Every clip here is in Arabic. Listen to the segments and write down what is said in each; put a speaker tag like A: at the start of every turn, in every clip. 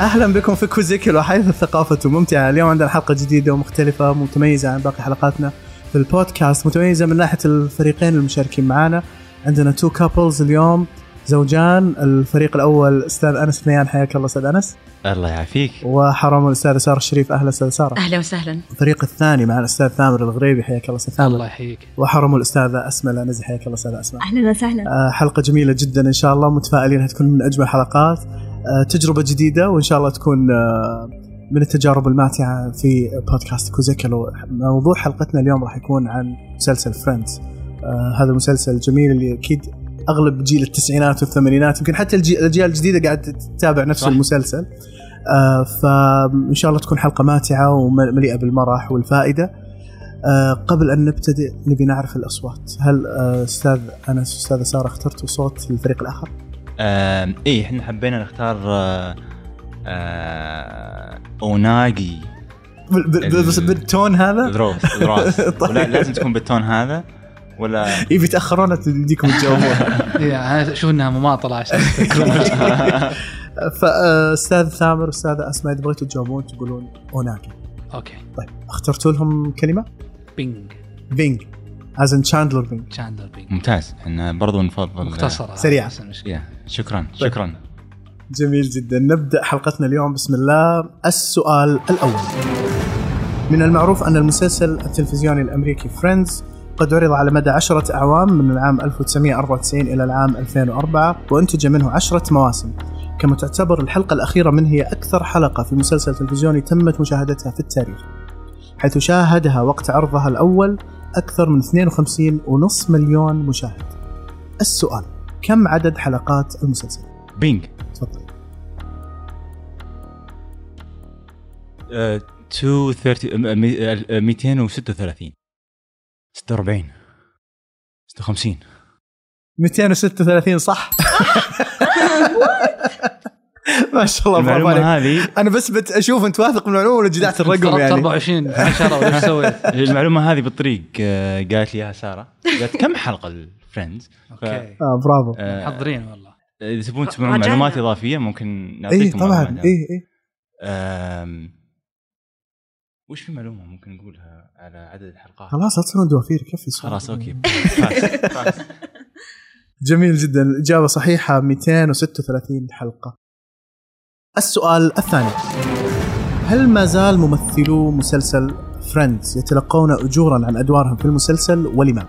A: اهلا بكم في كوزيكيلو حيث الثقافه ممتعه اليوم عندنا حلقه جديده ومختلفه متميزه عن باقي حلقاتنا في البودكاست متميزه من ناحيه الفريقين المشاركين معنا عندنا تو كابلز اليوم زوجان الفريق الاول استاذ انس ثنيان حياك الله استاذ انس
B: الله يعافيك
A: وحرام الاستاذ ساره الشريف اهلا استاذ ساره
C: اهلا وسهلا
A: الفريق الثاني مع الاستاذ ثامر الغريبي حياك الله استاذ ثامر
D: الله يحييك
A: وحرم الاستاذه اسماء العنزي حياك الله استاذه اسماء
E: اهلا وسهلا
A: آه، حلقة جميلة جدا ان شاء الله متفائلين هتكون من اجمل حلقات آه، تجربة جديدة وان شاء الله تكون آه، من التجارب الماتعة في بودكاست كوزيكلو موضوع حلقتنا اليوم راح يكون عن مسلسل فريندز هذا المسلسل الجميل اللي اكيد اغلب جيل التسعينات والثمانينات يمكن حتى الجي- الاجيال الجديدة قاعد تتابع نفس
D: صح.
A: المسلسل آه، فان شاء الله تكون حلقة ماتعة ومليئة بالمرح والفائدة آه، قبل ان نبتدئ نبي نعرف الاصوات هل آه، استاذ انس استاذه ساره اخترتوا صوت للفريق الاخر
B: آم، ايه احنا حبينا نختار آه، آه، اوناجي
A: بال- بال-
B: ال-
A: بس بالتون هذا
B: دروس دروس
A: طيب.
B: ولا لازم تكون بالتون هذا ولا
A: إيه بيتاخرون تديكم تجاوبون
D: إيه، انا اشوف انها مماطله عشان
A: فاستاذ آه، ثامر استاذه اسماء اذا بغيتوا تجاوبون تقولون اوناكي
D: اوكي
A: طيب اخترتوا لهم كلمه
D: بينج
A: بينج از ان تشاندلر بينج
D: تشاندلر بينج
B: ممتاز احنا برضو نفضل آه،
D: مختصره
A: سريعة.
D: بس المشكلة.
B: يا شكرا
A: طيب.
B: شكرا
A: جميل جدا نبدا حلقتنا اليوم بسم الله السؤال الاول من المعروف ان المسلسل التلفزيوني الامريكي فريندز قد عرض على مدى عشرة أعوام من العام 1994 إلى العام 2004 وأنتج منه عشرة مواسم كما تعتبر الحلقة الأخيرة منه هي أكثر حلقة في مسلسل تلفزيوني تمت مشاهدتها في التاريخ حيث شاهدها وقت عرضها الأول أكثر من 52.5 مليون مشاهد السؤال كم عدد حلقات المسلسل؟
B: بينج
A: تفضل
B: آه، 230 آه، مي- آه، 236 46 56
A: 236 صح ما شاء الله برافو عليك
B: المعلومة هذه
A: انا بس بت- اشوف انت واثق من المعلومه ولا جدعت الرقم
D: افترضت
A: يعني
D: 24 10 وش سويت؟
B: المعلومة هذه بالطريق آه، قالت لي يا سارة قالت كم حلقة الفريندز
D: اوكي
A: آه برافو
D: محضرين والله
B: اذا تبون تسمعون
C: راجعنا.
B: معلومات اضافيه ممكن
A: اي
B: نعطيكم
A: طبعا
B: معلومات.
A: اي اي
B: أم، وش في معلومه ممكن نقولها على عدد الحلقات؟
A: خلاص لا تصيرون دوافير كفي سؤال.
B: خلاص اوكي فاس، فاس.
A: جميل جدا الاجابه صحيحه 236 حلقه السؤال الثاني هل ما زال ممثلو مسلسل فريندز يتلقون اجورا عن ادوارهم في المسلسل ولماذا؟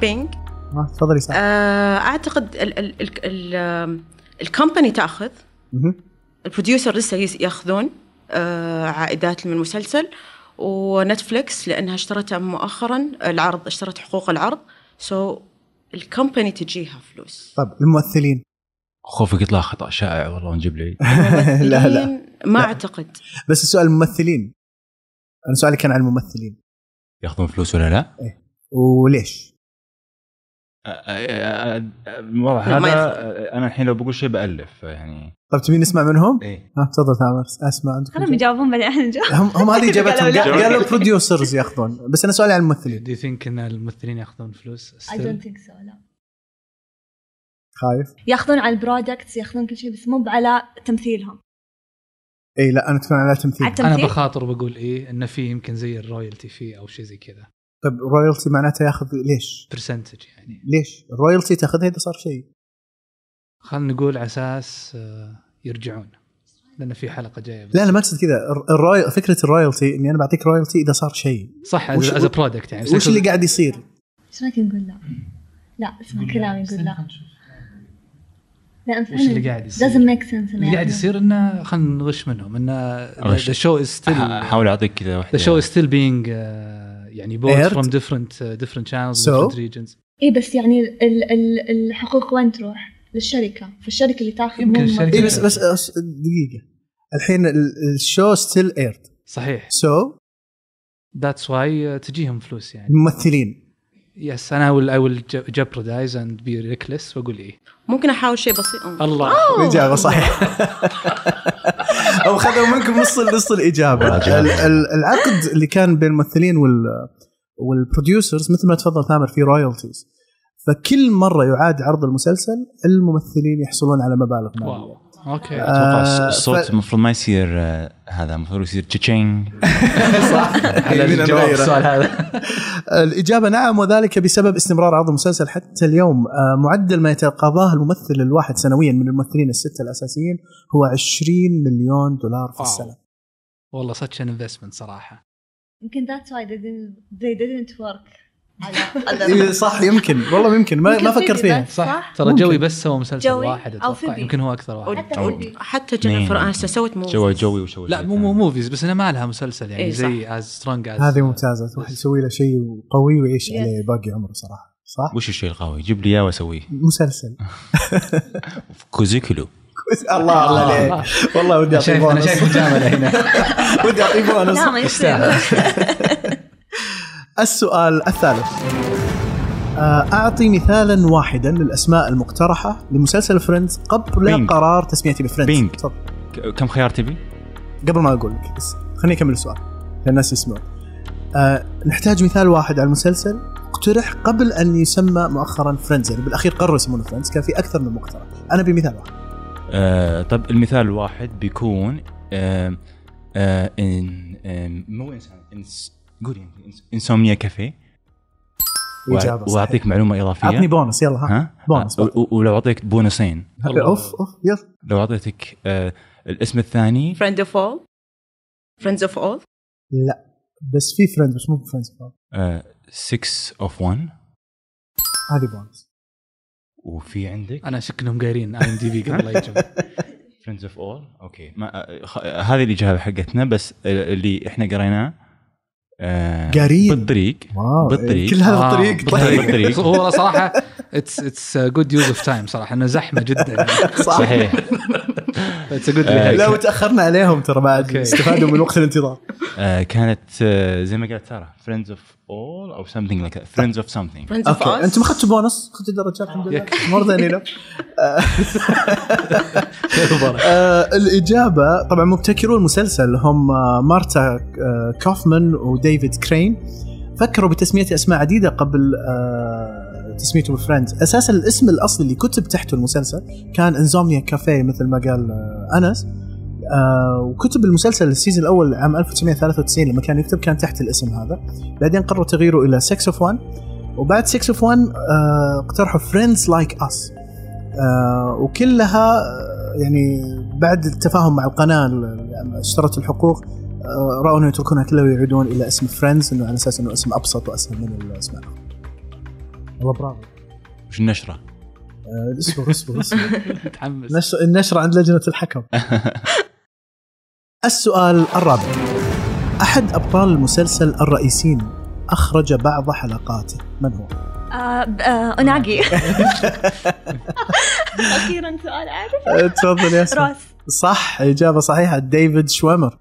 C: بينج
A: آه، تفضلي سعد
C: آه، اعتقد ال- ال- ال- ال- آم، الكومباني تاخذ
A: مهم.
C: البروديوسر لسه يس- ياخذون آه، عائدات من المسلسل ونتفلكس لانها اشترتها مؤخرا العرض اشترت حقوق العرض سو الكومباني تجيها فلوس
A: طيب الممثلين
B: خوفك يطلع خطا شائع والله ونجيب لي
A: لا لا
C: ممثلين ما
A: لا.
C: اعتقد
A: بس السؤال الممثلين انا سؤالي كان عن الممثلين
B: ياخذون فلوس ولا لا؟
A: وليش؟
B: أ- أ- أ- الوضع
C: لا، ما
B: هذا انا الحين لو بقول شيء بالف يعني
A: طب طيب تبين نسمع منهم؟
B: ايه
A: ها تفضل ثامر اسمع عندكم
E: خلهم يجاوبون بعدين احنا نجاوب
A: هم هم هذه اجابتهم
E: قالوا
B: لا.
A: قالوا بروديوسرز ياخذون بس انا سؤالي عن الممثلين
D: دو يو ثينك ان الممثلين ياخذون فلوس
E: I don't think so لا
A: خايف؟
E: ياخذون على البرودكتس ياخذون كل شيء بس مو على تمثيلهم
A: اي لا انا اتكلم على تمثيل
E: على
D: انا
E: التمثيل
D: بخاطر بقول ايه انه في يمكن زي الرويالتي فيه او شيء زي كذا
A: طب رويالتي طيب، معناته ياخذ ليش؟
D: برسنتج يعني
A: ليش؟ الرويالتي تاخذها اذا صار شيء
D: خلينا نقول على اساس آه، يرجعون لان في حلقه جايه
A: لا انا ما اقصد كذا الروي... فكره الرويالتي اني انا بعطيك رويالتي اذا صار شيء
D: صح
A: وش-
D: از برودكت يعني بس
A: وش
D: أقصد-
A: اللي قاعد يصير؟
E: ايش رايك نقول لا؟ لا اسمع كلامي نقول لا لان
D: وش اللي
E: فعلا
D: قاعد يصير؟
E: doesn't make sense
D: اللي
A: نعم.
D: قاعد يصير انه خلينا نغش منهم انه
B: غش.
D: ذا شو از ستيل
B: احاول اعطيك كذا واحده
D: ذا شو از ستيل بينج uh, يعني بوت
A: Aired.
D: فروم ديفرنت ديفرنت
A: So?
D: شانلز ديفرنت ريجنز
E: اي بس يعني ال- ال- الحقوق وين تروح؟ للشركه فالشركه اللي تاخذ
D: يمكن
E: من-
D: الشركة-
A: اي بس بس أس- دقيقه الحين ال- الشو ستيل ايرد
D: صحيح
A: سو
D: ذاتس واي تجيهم فلوس يعني
A: الممثلين
D: يس انا اي ويل جبردايز اند بي ريكلس واقول ايه
C: ممكن احاول شيء بسيط
D: الله
A: الاجابه صحيح او خذوا منكم نص نص الاجابه ال- ال- العقد اللي كان بين الممثلين وال والبروديوسرز مثل ما تفضل تامر في رويالتيز فكل مره يعاد عرض المسلسل الممثلين يحصلون على مبالغ ماليه
D: واو اوكي
B: اتوقع
A: آه،
B: الص- الصوت
A: ف-
B: المفروض ما يصير آه، هذا المفروض يصير تشين
D: على
A: يمين
D: الجواب
A: نغيره.
D: السؤال هذا
A: الإجابة نعم وذلك بسبب استمرار عرض المسلسل حتى اليوم آه، معدل ما يتقاضاه الممثل الواحد سنويا من الممثلين الستة الأساسيين هو 20 مليون دولار في
D: واو.
A: السنة
D: والله such an investment صراحه
E: يمكن that's why they didn't, they didn't work على
A: إيه، صح يمكن والله يمكن ما, ما
E: يمكن
A: فكرت
E: في
A: فيها
E: ذات-
D: صح
E: صح.
D: ترى
A: ممكن.
D: جوي بس سوى مسلسل
E: جوي
D: واحد
E: أو
D: اتوقع
E: فيبي.
D: يمكن هو اكثر واحد
E: حتى
B: أو-
E: فيبي.
C: حتى جينيفر انستون سوت
B: جوي
C: موفي
B: جوي وشوي
D: لا مو مو موفيز بس انها ما لها مسلسل يعني
C: إيه، صح.
D: زي از سترونج از
A: هذه ممتازة واحد يسوي له شيء قوي ويعيش
E: Yes.
A: عليه باقي عمره صراحة صح؟
B: وش الشيء القوي؟ جيب لي اياه واسويه
A: مسلسل
B: كوزيكولو
A: الله الله عليك والله ودي اعطيه
D: انا شايف انا
A: بونص
D: شايف مجامله هنا
A: ودي اعطيه بونص
C: نعم.
E: لا ما يصير
A: السؤال الثالث آه، أعطي مثالا واحدا للأسماء المقترحة لمسلسل فريندز قبل
B: بينج.
A: قرار تسميتي بفريندز
B: بينج.
A: تفضل.
B: ك- كم خيار تبي؟
A: قبل ما أقول لك بس خليني أكمل السؤال عشان الناس يسمعون آه، نحتاج مثال واحد على المسلسل اقترح قبل أن يسمى مؤخرا فريندز يعني بالأخير قرروا يسمونه فريندز كان في أكثر من مقترح أنا بمثال واحد
B: آه طب المثال الواحد بيكون آه آه إن آم، مو انسان إنس قولي إنس- انسومنيا كافيه وأع-
A: إجابة صحيحة.
B: واعطيك معلومه اضافيه
A: أعطني بونص يلا ها
B: ها؟
A: بونص.
B: آه، و- ولو اعطيك بونصين
D: والله.
A: أوف أوف يلا
B: لو اعطيتك آه الاسم الثاني
C: فريند اوف اول فريندز اوف اول
A: لا بس في فريندز بس مو فريندز
B: آه، 6 اوف 1
A: هذه بونص
B: وفي عندك
D: انا اشك انهم قايرين اي ام دي بي قبل لا يجوا
B: فريندز اوف اول اوكي ما آه، خ- آه، هذه الاجابه حقتنا بس آه، اللي احنا قريناه آه،
A: قارين.
B: بالطريق
A: واو
B: بالطريق.
A: كل هذا
D: آه،
A: الطريق
B: بالطريق.
A: طيب.
B: بالطريق.
D: هو صراحه اتس اتس جود يوز اوف تايم صراحه انه زحمه جدا
A: صح
B: صحيح
D: اتس جود
B: آه،
A: لو تاخرنا عليهم ترى بعد
D: أوكي.
A: استفادوا من وقت الانتظار
B: آه، كانت آه، زي ما قالت ترى فريندز اوف اول او something like that فريندز اوف something
C: فريندز اوف
A: اوكي
C: اول
A: انتم ما اخذتوا بونص اخذتوا درجات الحمد لله
D: يكفي.
A: مره ثانيه لا. آه، الاجابه طبعا مبتكرو المسلسل هم آه، مارتا آه، كوفمان وديفيد كرين فكروا بتسميه اسماء عديده قبل آه، تسميته بفريندز اساسا الاسم الاصلي اللي كتب تحته المسلسل كان انزومنيا كافيه مثل ما قال آه، انس آه، وكتب المسلسل السيزون الاول عام 1993 لما كان يكتب كان تحت الاسم هذا بعدين قرروا تغييره الى 6 اوف 1 وبعد 6 اوف 1 آه، اقترحوا فريندز لايك اس وكلها آه، يعني بعد التفاهم مع القناه اللي اشترت الحقوق آه، راوا انه يتركونها كلها ويعيدون الى اسم فريندز انه على اساس انه اسم ابسط واسهل من الاسماء والله برافو
B: وش النشره؟
A: آه، اصبر اصبر اصبر
D: متحمس
A: نشر النشرة عند لجنة الحكم السؤال الرابع أحد أبطال المسلسل الرئيسين أخرج بعض حلقاته من هو؟
E: آه، ب- آه، اوناجي اخيرا سؤال اعرف
A: تفضل يا
E: روس
A: صح إجابة صحيحة ديفيد شوامر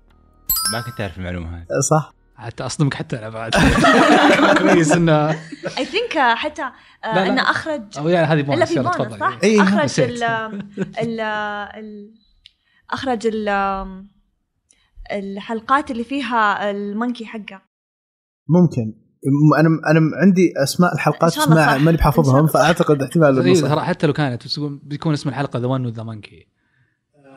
B: ما كنت اعرف المعلومه هذه
A: صح
D: حتى اصدمك حتى انا بعد كويس انه
E: اي ثينك حتى آه،
D: لا، لا.
E: انه اخرج
D: او يعني هذه
E: الا
D: بونس
E: في
D: يلا
E: بونس صح؟
D: تفضل
A: إيه،
E: اخرج
D: نسيت.
E: ال ال ال- اخرج ال الحلقات اللي فيها المونكي حقه
A: ممكن م- أنا أنا عندي أسماء الحلقات
E: إن شاء الله
A: ما
E: صح.
A: ماني بحافظهم
E: إن شاء الله.
A: فأعتقد احتمال إنه
D: إيه،
A: صح.
D: ترى حتى لو كانت بس بيكون اسم الحلقه ذا ون وذ ذا مونكي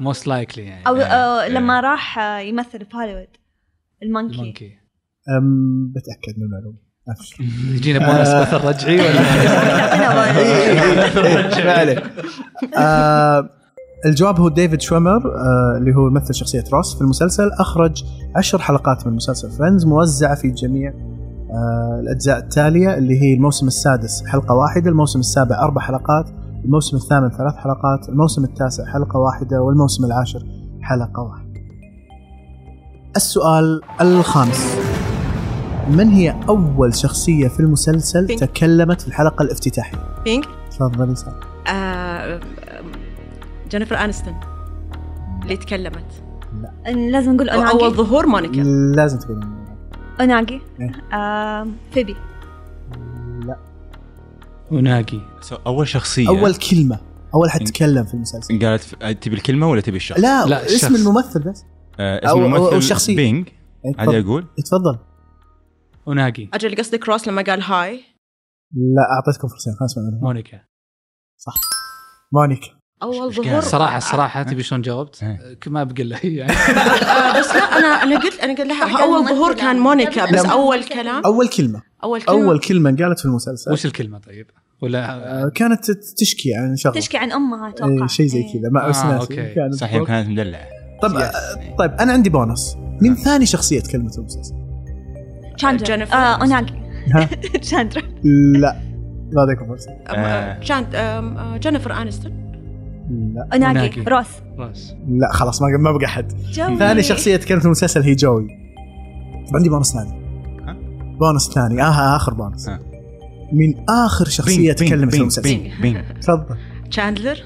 D: موست لايكلي يعني
E: او آه،
B: إيه.
E: لما راح آه، يمثل في هوليوود المونكي
D: المونكي
A: أم، بتأكد من المعلومة أبشر.
D: يجينا بونس مثل رجعي ولا
E: يعطينا
A: إيه، إيه، إيه، ما عليك. آه، الجواب هو ديفيد شومر آه، اللي هو يمثل شخصية روس في المسلسل أخرج عشر حلقات من مسلسل فريندز موزعة في جميع آه، الأجزاء التالية اللي هي الموسم السادس حلقة واحدة الموسم السابع أربع حلقات الموسم الثامن ثلاث حلقات الموسم التاسع حلقة واحدة والموسم العاشر حلقة واحدة السؤال الخامس من هي أول شخصية في المسلسل
C: بينك.
A: تكلمت في الحلقة الافتتاحية؟
C: بينك
A: تفضلي سارة
C: آه، جينيفر انستون اللي تكلمت
E: أنا لازم نقول
C: اول
E: اوناجي
C: ظهور مونيكا
A: لازم تقولي
E: اوناجي
A: إيه.
E: آم، آه، فيبي
A: لا
D: وناقي
B: سو اول شخصيه
A: اول كلمه اول حد
B: إن-
A: تكلم في المسلسل
B: قالت ف- تبي الكلمه ولا تبي الشخص؟
A: لا,
D: لا،
A: اسم
D: الشخص.
A: الممثل بس
B: آه اسم
A: أو- أو- أو
B: الممثل
A: شخصية.
B: بينج عادي
A: تفضل
B: اقول
A: تفضل
D: وناقي
C: اجل قصدك روس لما قال هاي
A: لا اعطيتكم فرصه خلاص ما
D: مونيكا
A: مونيكا
C: اول
B: إيش
C: ظهور
B: قال؟
D: صراحه الصراحه تبي شلون جاوبت؟
B: إيه.
D: ما بقى له يعني
C: آه، بس لا انا انا قلت انا قلت لها اول ظهور كان مونيكا بس
A: لا.
C: اول كلام
A: اول كلمه
C: اول كلام
A: اول كلمه انقالت في المسلسل
D: وش الكلمه طيب؟ ولا
A: آه، كانت تت- تشكي يعني، عن شغله
E: تشكي عن امها اتوقع
A: إيه، شيء زي كذا ما
D: آه،
A: بس ناسي.
D: أوكي.
A: كانت-
B: صح يوم كانت مدلعه
A: طيب آه، طيب انا عندي بونص
D: آه.
A: مين ثاني شخصيه تكلمت في المسلسل؟
E: تشاندرا
C: جينيفر.
E: آه اوناجي
A: ها؟
E: تشاندرا
A: لا ما اعطيكم فرصه
C: أم- آه، جان- آم، آه، جينيفر انستون
A: لا
E: اوناجي
D: أوناجي.
E: روس
D: راس
A: لا خلاص ما ما بقى احد
E: جوي
A: ثاني شخصيه تكلمت في المسلسل هي جوي طب عندي بونص ثاني
B: ها؟
A: بونص ثاني اه اخر بونص
B: ها.
A: مين اخر شخصيه تكلمت في المسلسل؟
B: بينج بينج
A: تفضل
C: تشاندلر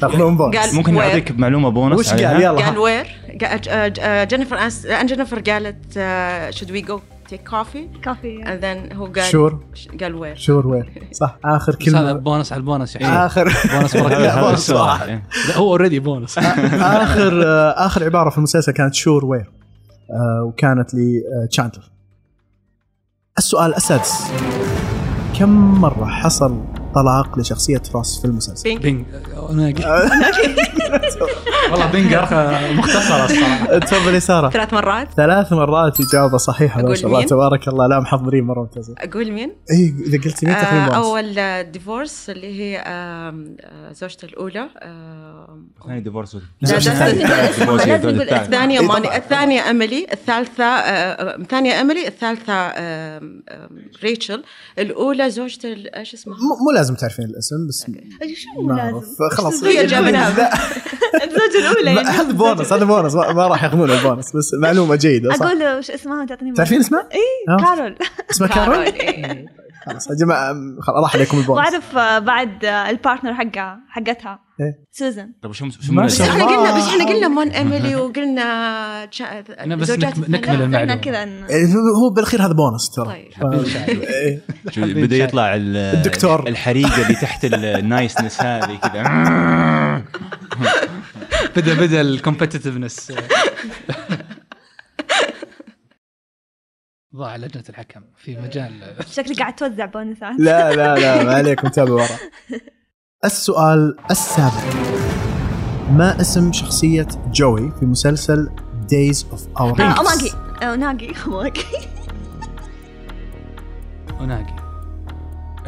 A: تاخذون بونص
C: قال
B: ممكن
C: وير.
B: اعطيك معلومه بونص
A: وش قال يلا
C: قال
A: ها.
C: وير قال- آه، ج- آه، جينيفر أنس- آه، جينيفر قالت آه، شود وي جو تيك كوفي
E: كافي
C: and then هو قال
A: شور
C: ش- قال وير
A: شور وير صح اخر
D: بس هذا
A: كلمه
D: بونص على البونص يعني
A: اخر
D: بونص
A: آه. لا،
D: مركز
A: بونص واحد.
B: واحد
D: لا، هو اوريدي بونص
A: اخر آه، اخر عباره في المسلسل كانت شور وير آه، وكانت لتشاندلر السؤال السادس كم مره حصل طلاق لشخصيه روس في المسلسل؟
D: بينج اوناقي
A: آه.
D: والله بينج عرفة مختصره الصراحه
A: تفضلي ساره
C: ثلاث مرات
A: ثلاث مرات اجابه صحيحه ما
C: أقول
A: شاء الله
C: مين؟
A: تبارك الله لا محضرين مره ممتازه
C: اقول مين؟
A: اي اذا قلت مين تاخذين
C: آه
A: بونص
C: اول ديفورس اللي هي آم، آه، زوجته الاولى آم،
B: ثاني ديفورس
C: لا،
A: زوجته
C: لا،
A: الثانية.
C: لا، اسمع،
B: زوجته
C: لازم نقول
B: الثانية.
C: الثانيه
A: إيه،
C: ماني
A: طبعاً.
C: الثانيه املي الثالثه آه، آه، الثانيه املي الثالثه آم، آم، ريتشل الاولى زوجته ال- ايش اسمها؟
A: مو مو لازم تعرفين الاسم بس
E: شو
A: ما
E: لازم
A: اعرف خلاص
C: هي جابناها.
A: لا،
E: الزوجة الأولى
A: ما-
E: يعني
A: هذا بونص هذا بونص ما ما راح ياخذون البونص بس معلومه جيده صح
E: أقول وش اسمها وتعطيني
A: تعرفين اسمها؟
E: إي
A: ها؟
E: كارول
A: اسمها كارول؟
C: إيه.
A: خلاص يا جماعه م- خلاص راح عليكم البونص
E: وأعرف آه، بعد آه، البارتنر حقها حقتها
A: إيه.
E: سوزن
B: طب شو
A: ما
B: شو
C: بس
A: شاء
C: احنا
A: الله.
C: قلنا بس احنا قلنا مون اميلي وقلنا آه،
D: أنا بس
C: زوجات
D: نكم-
C: الثانية.
D: نكمل
E: إحنا
D: المعلومه
E: كذا ن-
A: إيه، هو بالاخير هذا بونص ترى
C: طيب
A: إيه.
B: بدا يطلع ال-
A: الدكتور.
B: الحريقه اللي تحت النايسنس هذه كذا
D: بدا بدا الكومبتتفنس ضاع لجنه الحكم في مجال
E: شكلي قاعد توزع آه، بونسات
A: لا لا لا ما عليكم تابعوا ورا السؤال السابع ما اسم شخصية جوي في مسلسل Days of Our
E: آه،
A: Lives؟
E: أوماجي آه، ناجي أوماجي
D: اوناقي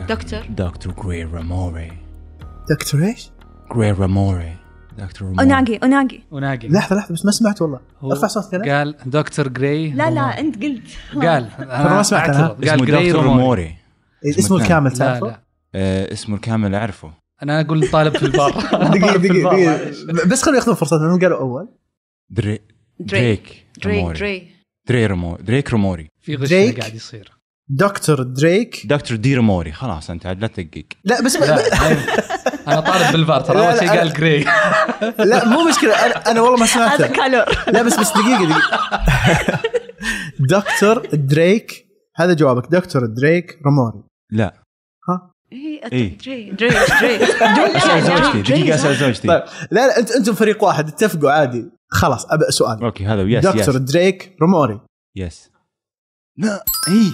C: دكتور
B: دكتور جري راموري
A: دكتور ايش؟
B: جري راموري دكتور راموري
E: أوناجي أوناجي
D: اوناقي
A: لحظة لحظة بس ما سمعت والله
D: هو
A: ارفع صوتك أنا.
D: قال دكتور جراي
E: لا لا
D: روموري.
E: أنت قلت
D: قال
A: أنا ما سمعت أنا.
D: أعترض. قال
B: اسمه
D: جراي
B: دكتور
D: روموري
B: راموري
A: إيه، اسمه الكامل
D: لا
A: تعرفه؟
D: لا
B: آه، اسمه الكامل اعرفه
D: انا اقول طالب في البار
A: دقيقة
D: طالب في
A: دقيقة
D: البار، معلش.
A: دقيقة بس خلوا ياخذون فرصتهم لأنهم قالوا أول
B: دري دريك
C: دري
B: راموري.
C: دري
B: دري راموري دريك راموري
D: في غش
A: دريك.
D: قاعد يصير
A: دكتور دريك
B: دكتور دي راموري خلاص انت عاد لا تدقق
A: لا بس
D: لا انا طالب بالبار ترى
A: لا،
D: اول
A: لا،
D: شيء قال جراي
A: لا مو مشكلة أنا, أنا والله ما سمعته
E: هذا كالور
A: لا بس بس دقيقة دقيقة دكتور دريك هذا جوابك دكتور دريك راموري
B: لا
C: إيه،
B: إيه.
C: دري دري دري
B: اسال زوجتي دقيقه اسال
A: طيب
B: زوجتي
A: لا لا انت انتم فريق واحد اتفقوا عادي خلاص ابى سؤال
B: اوكي هذا يس
A: دكتور
B: يس
A: دريك راموري
B: يس لا اي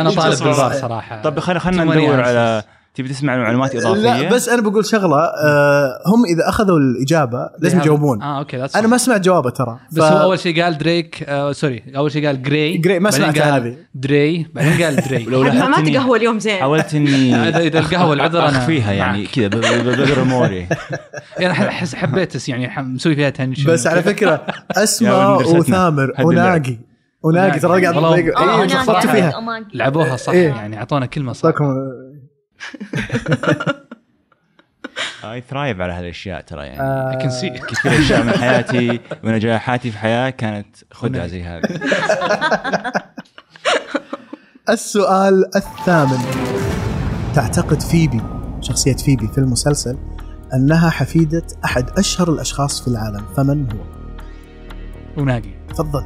D: انا طالب
A: صراحة.
D: بالبار صراحه
B: طب خلينا خلينا
D: Too many
B: ندور
D: answers.
B: على تبي تسمع معلومات اضافيه
A: لا بس انا بقول شغله آه هم اذا اخذوا الاجابه لازم يجاوبون
D: اه اوكي that's
A: انا ما
D: fine.
A: سمعت جوابه ترى
D: بس هو اول شيء قال دريك آه سوري اول شيء قال جراي
A: Grey، ما
D: بعدين
A: سمعت
D: قال
A: هذه.
D: دري بعدين قال دري
B: ولو
C: ما ما
B: لاحظت إني-
C: تقهوى اليوم زين
B: حاولت اني
D: إذا- إذا القهوة العذر أنا
B: اخفيها يعني كذا ب- ب- بقرا موري
D: يعني انا احس حبيت بس يعني ح- مسوي فيها تنشن
A: بس على فكره
B: يا
A: اسماء
B: ولد درستنا.
A: وثامر
B: حد
A: وناقي وناقي ترى قاعد
D: والله.
A: تضيق-
D: آه،
A: إيه،
D: أنا
A: صرفتوا
D: قاعد-
A: فيها
D: لعبوها صح
A: إيه.
D: يعني اعطونا كلمه صح
A: أعطاكم-
B: اي ثرايف على هالاشياء ترى يعني
A: آه،
D: I can see it.
B: كثير اشياء من حياتي ونجاحاتي في حياه كانت خدعه زي هذه
A: السؤال الثامن تعتقد فيبي شخصية فيبي في المسلسل أنها حفيدة أحد أشهر الأشخاص في العالم فمن هو؟
D: وناقي
A: تفضل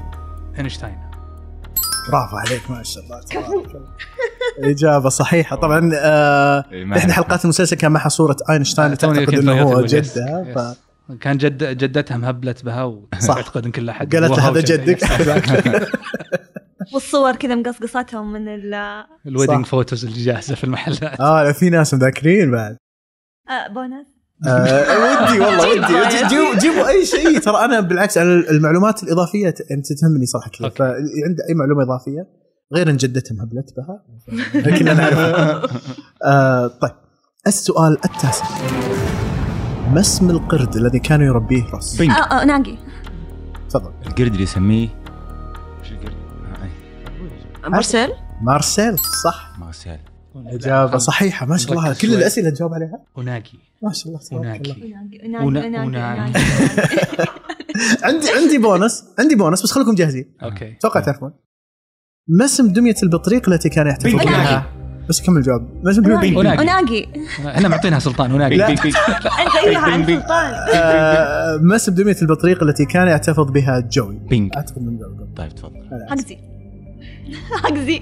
D: اينشتاين
A: برافو عليك ما شاء الله تبارك الله. إجابة صحيحة طبعا آه
B: إيه، ما
A: إحدى
B: أعرف.
A: حلقات المسلسل كان معها صورة أينشتاين
D: آه، توني
A: تعتقد
D: كنت
A: أنه هو
D: بقول يس،
A: جدها
D: يس.
A: ف-
D: كان جد جدتها مهبلت بها وتعتقد ان كل احد
A: قالت له
D: وهو
A: هذا
D: جده.
A: جدك
F: والصور كذا مقصقصتهم من ال آه،
D: الويدنج فوتوز اللي جاهزه في المحلات
A: اه في ناس مذاكرين بعد
F: بونس
A: آه، ودي والله ودي جي- جيبوا جيبوا اي شيء ترى انا بالعكس انا المعلومات الاضافيه ت- يعني انت تهمني صراحه كثير
D: أوكي.
A: فاللي عنده اي معلومه اضافيه غير ان جدتها مهبلت بها لكن انا اعرفها آه، طيب السؤال التاسع ما اسم القرد الذي كان يربيه روس؟
B: بينك
F: آه، آه، ناقي
A: تفضل
B: القرد اللي يسميه شو القرد؟ آه، أي.
C: مرسل
A: مارسيل صح
B: ما سهل
A: اجابه صحيحه ما شاء الله
D: ركز
A: كل
D: شوي.
A: الاسئله تجاوب عليها
D: وناقي
A: ما شاء الله تبارك الله
D: وناقي
F: وناقي
D: ونا-
F: وناقي
D: وناقي.
F: وناقي
A: عندي عندي بونس عندي بونس بس خليكم جاهزين
D: اوكي
A: اتوقع تعرفون ما اسم دميه البطريق التي كان يحتفظ
F: بينك.
A: بها؟ بس كمل الجواب ما اسم دميه البطريق؟
D: وناقي.
F: وناقي
D: احنا معطينها سلطان هناك
A: لا.
F: انت
E: أيوة،
F: ايوه عن سلطان
A: آه، ما اسم دميه البطريق التي كان يحتفظ بها جوي؟
B: بينك
A: اعتقد من الجواب
B: طيب تفضل
F: حقزي حقزي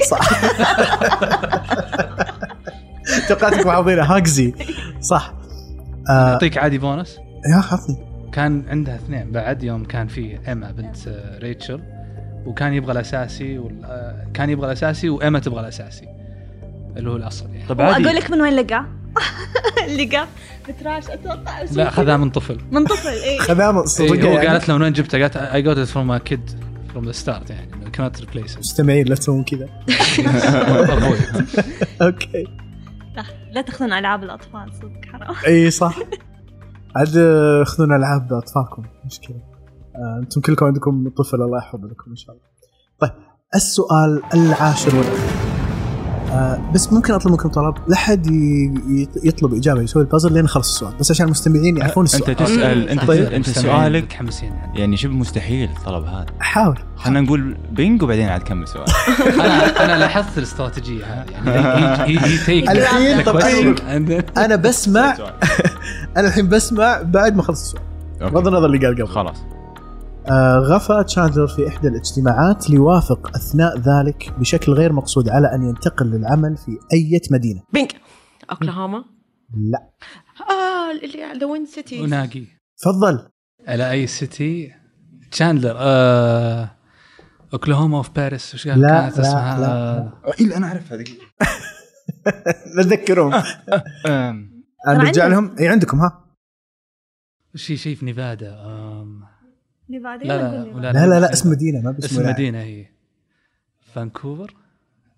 A: توقعتك محافظينها هاكزي صح آه
D: اعطيك عادي بونس
A: يا خفني
D: كان عندها اثنين بعد يوم كان في ايما بنت آه، ريتشل وكان يبغى الاساسي وال- آه، كان يبغى الاساسي وايما تبغى الاساسي اللي هو الاصل يعني
B: طب طيب، عادي
F: واقول لك من وين لقاه لقاه بتراش اتوقع أو شيء
D: لا خذها من طفل
F: من طفل اي
A: خذام
D: إيه،
A: صدق
D: هو
A: يعني.
D: قالت له من وين جبتها؟ قالت اي جوت ات فروم كيد فروم ذا ستارت يعني كانت ريبليس
A: مستمعين لا تسوون كذا اوكي
F: لا تاخذون العاب الاطفال صدق حرام
A: اي صح عاد آه، خذونا العاب اطفالكم مشكله آه، انتم كلكم عندكم طفل الله يحفظ لكم ان شاء الله طيب السؤال العاشر والاخير آه بس ممكن اطلب منكم طلب لا حد ي- يط- يطلب اجابه يسوي البازل لين خلص السؤال بس عشان المستمعين يعرفون
B: انت
A: السؤال
B: تسال انت
A: طيب،
B: انت سؤالك
D: متحمسين يعني
B: يعني شبه مستحيل الطلب هذا
A: حاول
B: خلينا نقول بينج وبعدين عاد كمل سؤال
D: انا انا لاحظت الاستراتيجيه هذه يعني هي تيك
A: الحين طبيعي. انا بسمع
B: سؤال.
A: انا الحين بسمع بعد ما خلص السؤال
B: أوكي.
A: بغض النظر اللي قال قبل
B: خلاص
A: آه غفى تشاندلر في احدى الاجتماعات ليوافق اثناء ذلك بشكل غير مقصود على ان ينتقل للعمل في اي مدينه
C: بينك
D: أمم.
C: اوكلاهوما
A: لا
C: اه اللي ذا وين سيتي
D: وناقي
A: تفضل
D: على اي سيتي تشاندلر آه... اوكلاهوما اوف باريس وش قال
A: لا،
D: كانت
A: لا،
D: اسمها آه،
A: لا،
D: إيه،
B: الا انا اعرف هذه
D: آه،
A: نذكرهم انا
F: عندهم.
A: برجع آه، لهم اي عندكم ها
D: شيء شيء في نيفادا آم...
F: اللي بعدين
D: لا لا
F: نقول
D: لا إيه.
F: لي.
A: لا لا لا اسم مدينه ما باسم
D: اسم
A: ولاية.
D: مدينه هي فانكوفر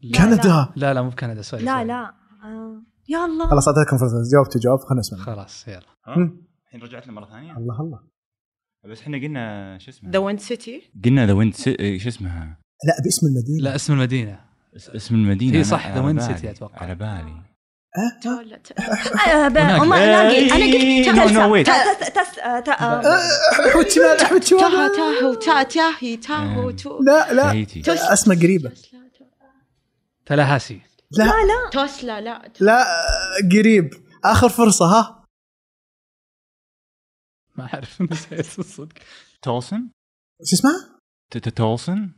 D: لا.
A: كندا
D: لا لا مو بكندا سوري
F: لا
D: سوري.
F: لا آه. يا الله
A: خلاص اعطيتكم فرصه جاوبتوا جواب خلنا نسمع
D: خلاص يلا
B: الحين رجعت لنا مره ثانيه
A: الله الله
B: بس احنا قلنا شو اسمها
C: ذا وين سيتي
B: قلنا ذا ويند إيه، شو اسمها
A: لا باسم المدينه
D: لا اسم المدينه
B: اس- اسم المدينه
D: هي
B: أنا
D: إيه، صح،
B: على
D: The Wind
B: بالي-
D: City أتوقع.
B: على بالي
F: آه، ب-
D: وناقي.
F: أم- ناقي انا
B: إيه،
F: قلت
B: no, no, wait.
F: تلسة. ت- ت- تس آه، ت- آه.
A: احمد شمال احمد
C: تاها
A: شمال
C: تاهو تا تاهي تاهو
B: آه.
C: تو
A: لا لا
B: تهيتي
C: توس
A: اسمه قريبه
C: توسلا تو-
D: تلاهاسي
A: لا
C: توسلا لا
A: لا قريب اخر فرصه ها
D: ما اعرف نسيت الصدق
B: تولسون
A: شو اسمها؟
B: ت- ت- تولسون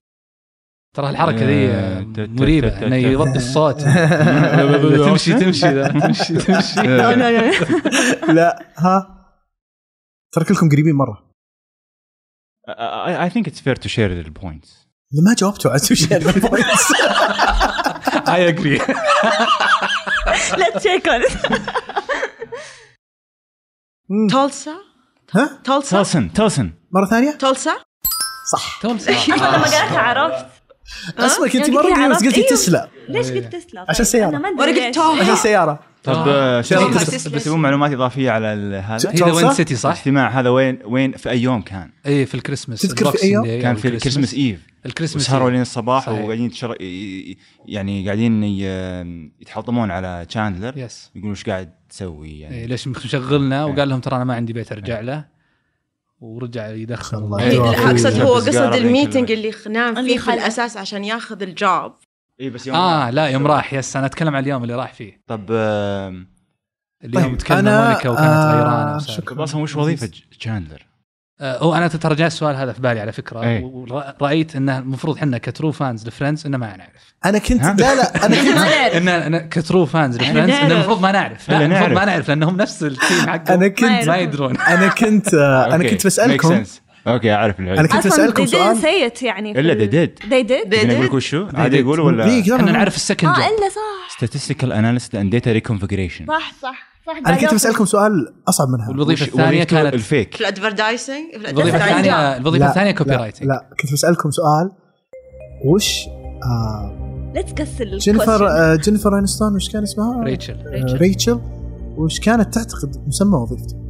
D: ترى
B: آه، ت-
D: الحركه
B: ت-
D: ذي
B: ت- ت-
D: مريبه
B: ت-
D: انه
B: ت-
D: يغطي الصوت تمشي تمشي ذا، تمشي تمشي
F: لا، لا، لا.
A: لا ها ترى كلكم قريبين مره
B: اي ثينك اتس فير تو شير ذا بوينتس
F: يعني
A: اللي ما جاوبتوا على سوشيال
B: I agree.
F: Let's check on it.
C: تولسا
A: ها
C: تولسا
B: تلسن تلسن
D: آه.
A: مره ثانيه
C: تولسا
D: تولسا
F: أنا لما قرأتها عرفت
A: اسمك انت
F: يعني
A: مره
F: كذا
A: قريبة، بس
F: عرفت.
A: قلتي
F: أيوه.
A: تسلا
F: ليش قلت
B: إيه.
F: تسلا؟ طيب؟
A: عشان سيارة.
F: أنا ما أدري
C: ورقة
F: ليش.
C: توم.
A: عشان سياره
B: طب
D: آه.
B: آه، شباب،
C: تلسن.
B: بس- بس تبون معلومات اضافيه على ال- هذا
D: هذا وين
A: تولسا؟
D: سيتي صح؟
B: الاجتماع هذا وين وين في اي يوم كان؟
D: اي في الكريسماس
A: تذكر في
D: Boxing
A: أي يوم؟
D: Day أو
B: كان في الكريسماس ايف
D: الكريسماس
B: وسهروا لين الصباح
D: صحيح.
B: وقاعدين تشر... يعني قاعدين ي- يتحطمون على تشاندلر
D: يس
B: يقولون ايش قاعد تسوي يعني
D: إيه، ليش مشغلنا وقال لهم ترى انا ما عندي بيت ارجع له ورجع
A: إن
D: يدخل
A: شاء الله. أيوة.
C: العكس إيه، هو
B: بس قارب
C: قصد
B: يمكن
C: الميتنج
B: لما-
C: اللي خ- نام
F: اللي
C: فيه في
F: خلع.
C: الاساس عشان ياخذ
B: اي
C: الجوب
B: إيه، بس يوم
D: اه لا يوم راح يس انا اتكلم عن اليوم اللي راح فيه
B: طب آه، آم،
D: اللي يوم
A: طيب،
D: تكلمنا
A: أنا-
D: مونيكا وكانت
A: آه،
D: غيرانه وسالفة.
B: طب اصلا وش وظيفه ج- تشاندلر؟
D: آه، هو انا ترى جاء السؤال هذا في بالي على فكره
B: إيه.
D: ورايت انه المفروض احنا كترو فانز لفريندز انه ما نعرف
A: انا كنت
B: ها؟
A: لا لا انا كنت
D: إن إن كترو فانز لفريندز
F: نعرف.
D: انه المفروض ما نعرف لا
B: إلا
D: المفروض
B: نعرف.
D: ما نعرف لانهم نفس التيم حقهم
A: انا
F: ما
A: كنت
D: ما يدرون
A: انا كنت انا
B: أوكي.
A: كنت
B: Make
A: بسالكم
B: sense. اوكي اعرف
A: انا
B: العلم
A: كنت
F: أصلاً
A: بسالكم
F: they didn't
A: سؤال
F: say it يعني
B: الا ذا ديد
F: they did
C: They
B: اقول لك
C: did.
B: وشو؟ عادي يقولوا
A: ليك، لا،
B: ولا
A: لا،
D: احنا
A: لا.
D: نعرف
E: آه،
D: السكند
F: اه
D: جوب
F: إلا صح
B: statistical analysis and data reconfiguration
F: صح صح صح
A: انا كنت بسالكم سؤال اصعب من هذا
D: والوظيفه
B: وش-
D: الثانيه
B: وظيفته
D: كانت
B: الفيك
C: في الادفردايسنج في
D: الوظيفه
C: الادفردايسنج
D: الثانيه الوظيفه
A: لا،
D: الثانيه كوبي
A: لا،
D: رايتنج
A: لا كنت بسالكم سؤال وش آه
F: ليتس كسل
A: جينيفر آه جينيفر انستون وش كان اسمها؟
D: ريتشل
A: آه، ريتشل وش كانت تعتقد مسمى وظيفتها؟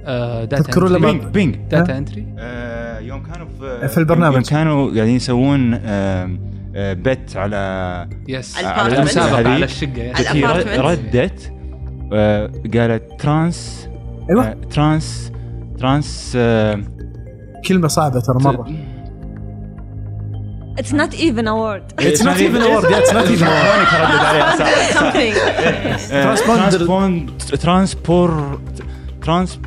D: uh,
A: تذكرون لما-
B: بينج بينج
D: داتا انتري
B: آه، يوم كانوا في
A: في البرنامج.
B: يوم كانوا قاعدين يسوون آم، آه، بت على
D: يس
C: على
D: على
C: الأبارتمنت.
D: المسابقه
B: هذه.
D: على الشقه يس.
C: على
B: هي
C: الأبارتمنت.
B: رد- ردت آه، قالت ترانس
A: أيوة.
B: آه، ترانس ترانس آه،
A: كلمه صعبه ترى مره
F: اتس نوت ايفن اوورد
A: It's not even a word, yeah, it's not even a word.
B: أنا تردد عليها إيه، صح. آه،
A: Transponder.
B: transpond- ترانسبور ترانس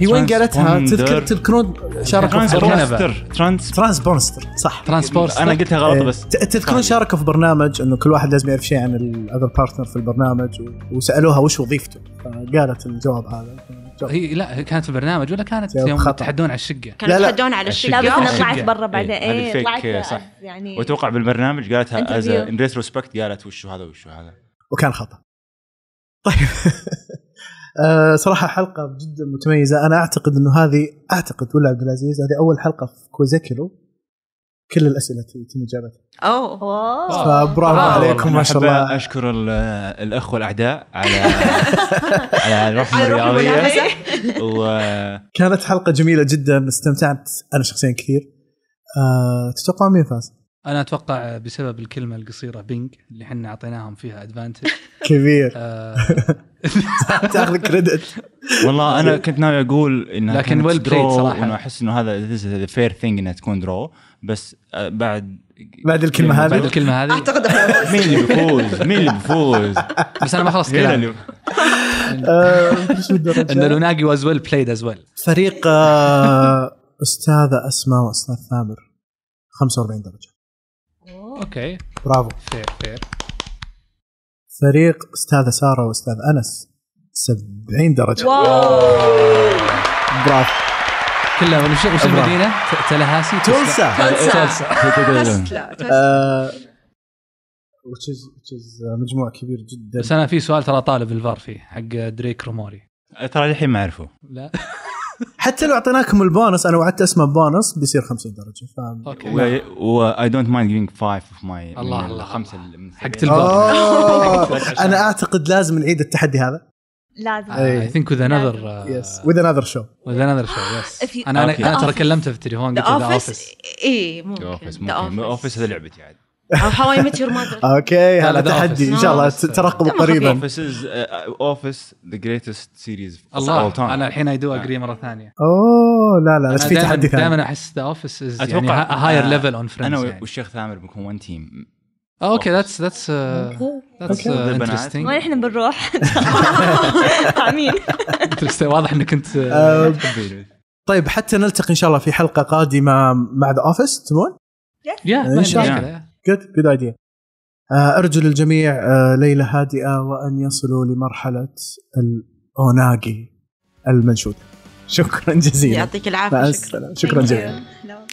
A: هي وين قالتها؟
B: Transponder.
A: تذكر تذكرون شاركوا في برنامج
B: ترانسبورتر
D: Transponder.
B: ترانس
A: ترانسبونستر يعني صح
D: ترانسبورت
B: انا قلتها غلط
A: إيه.
B: بس طيب.
A: ت- تذكرون شاركوا في برنامج انه كل واحد لازم يعرف شيء عن الاذر بارتنر في البرنامج و- وسالوها وش وظيفته فقالت الجواب هذا جواب.
D: هي لا هي كانت في البرنامج ولا كانت
A: جواب
D: يوم
A: خطأ.
D: تحدون على الشقه
C: كانوا
A: لا، لا.
C: يتحدون على
B: الشقة.
F: لا بس انا
C: الشقه
B: الشقة.
F: طلعت برا بعدين
B: إيه، هذه
F: ايه
B: fake،
F: طلعت
B: آه،
F: آه،
B: صح.
F: يعني
B: وتوقع بالبرنامج قالتها از
F: Interview.
B: ان ريتروسبكت قالت وشو هذا وشو هذا
A: وكان خطا طيب آه، صراحه حلقه جدا متميزه انا اعتقد انه هذه اعتقد ولا عبد العزيز هذه اول حلقه في كوزيكيلو كل الاسئله يتم اجابتها
C: اوه
F: اوه
A: فبرافو
D: آه،
A: عليكم
B: والله.
A: ما شاء
B: أحب
A: الله
B: اشكر ال- الاخوه الاعداء على على الرحمه
C: على روح
B: الرياضيه
C: المنافسة.
B: واتوقع
A: كانت حلقه جميله جدا استمتعت انا شخصيا كثير آه، تتوقعون مين فاز؟
D: انا اتوقع بسبب الكلمه القصيره بينج اللي احنا اعطيناهم فيها ادفانتج
A: كبير
D: آه
A: تاخذ كريدت
B: والله انا كنت ناوي اقول انها
D: لكن
B: كانت
D: well played
B: draw،
D: صراحة.
B: وانه احس انه هذا ذا فير ثينج انها تكون درو بس آه، بعد
A: بعد الكلمه
B: بعد
A: هذه
D: بعد الكلمه هذه
C: اعتقد أفوز.
B: مين اللي بيفوز؟ مين اللي بيفوز؟
D: بس انا ما خلصت
B: هنا
D: كلامي
B: اللي-
A: آه، شو الدرجة؟
D: ان لوناجي واز ويل بلايد از ويل
A: فريق آه، استاذه اسماء واستاذ ثامر 45 درجه
D: اوكي
A: برافو
D: فير فير
A: فريق استاذه ساره واستاذ انس 70 درجه برافو
D: كلها وش وش
A: أبرا.
D: المدينه؟ ت- تلهاسي
A: تولسا
C: تولسا. لا، تولسا.
A: آه، وتشز وتشز مجموع كبير جدا
D: بس انا في سؤال ترى طالب الفار فيه حق دريك روموري
B: ترى الحين ما اعرفه
D: لا
A: حتى لو اعطيناكم البونص انا وعدت اسماء بونص بيصير 50 درجه فاهم
D: اوكي
B: واي دونت مايند جيفينج فايف اوف ماي
D: الله، الله.
B: خمسه اللي من
D: حقت
B: السبعين.
A: أوه، انا اعتقد آه. لازم نعيد التحدي هذا
F: لازم
A: إيه.
D: اي ثينك وذ انذر uh,
A: يس وذ انذر شو
D: وذ انذر شو
F: If
D: يس
F: you-
D: انا انا
B: Okay.
D: أنا ترى كلمته في التليفون
C: ذا
D: قلت له ذا
C: اوفيس
D: اوفيس
B: The
C: اي إيه، ممكن
B: Office،
C: Oh. The Oh,
B: ممكن اوفيس هذا لعبتي عاد
C: او هاو اي ميت يور
A: آه،
C: ماذر
A: اوكي
D: لا، آه،
A: هذا
D: لا، The
A: تحدي ان
C: Office.
A: شاء الله
D: No.
A: ترقبوا
C: لا، ما
A: قريبا
B: اوفيس از اوفيس ذا جريتست سيريز
D: الله انا الحين اي دو اجري مره ثانيه
A: اوه لا لا بس في تحدي ثاني
D: دائما احس ذا اوفيس از يعني
B: أتوقع-
D: هاير ليفل اون
B: انا
D: فريندز
B: والشيخ ثامر بنكون ون تيم
D: اوكي ذاتس ذاتس
B: البنات.
D: ذاتس
F: وين
D: انترستنج
F: احنا بنروح طعمين
D: واضح uh, انك انت
A: آه، طيب حتى نلتقي ان شاء الله في حلقه قادمه مع ذا اوفيس تبون؟
D: يا ما
A: إن شاء
D: عندي
B: الله.
D: مشكلة.
A: جود جود ايديا ارجو للجميع آه، ليله هادئه وان يصلوا لمرحله الاوناجي المنشود شكرا جزيلا
C: يعطيك العافيه
A: مع
C: شكرا
A: السلامه شكرا جزيلا
F: لا والله.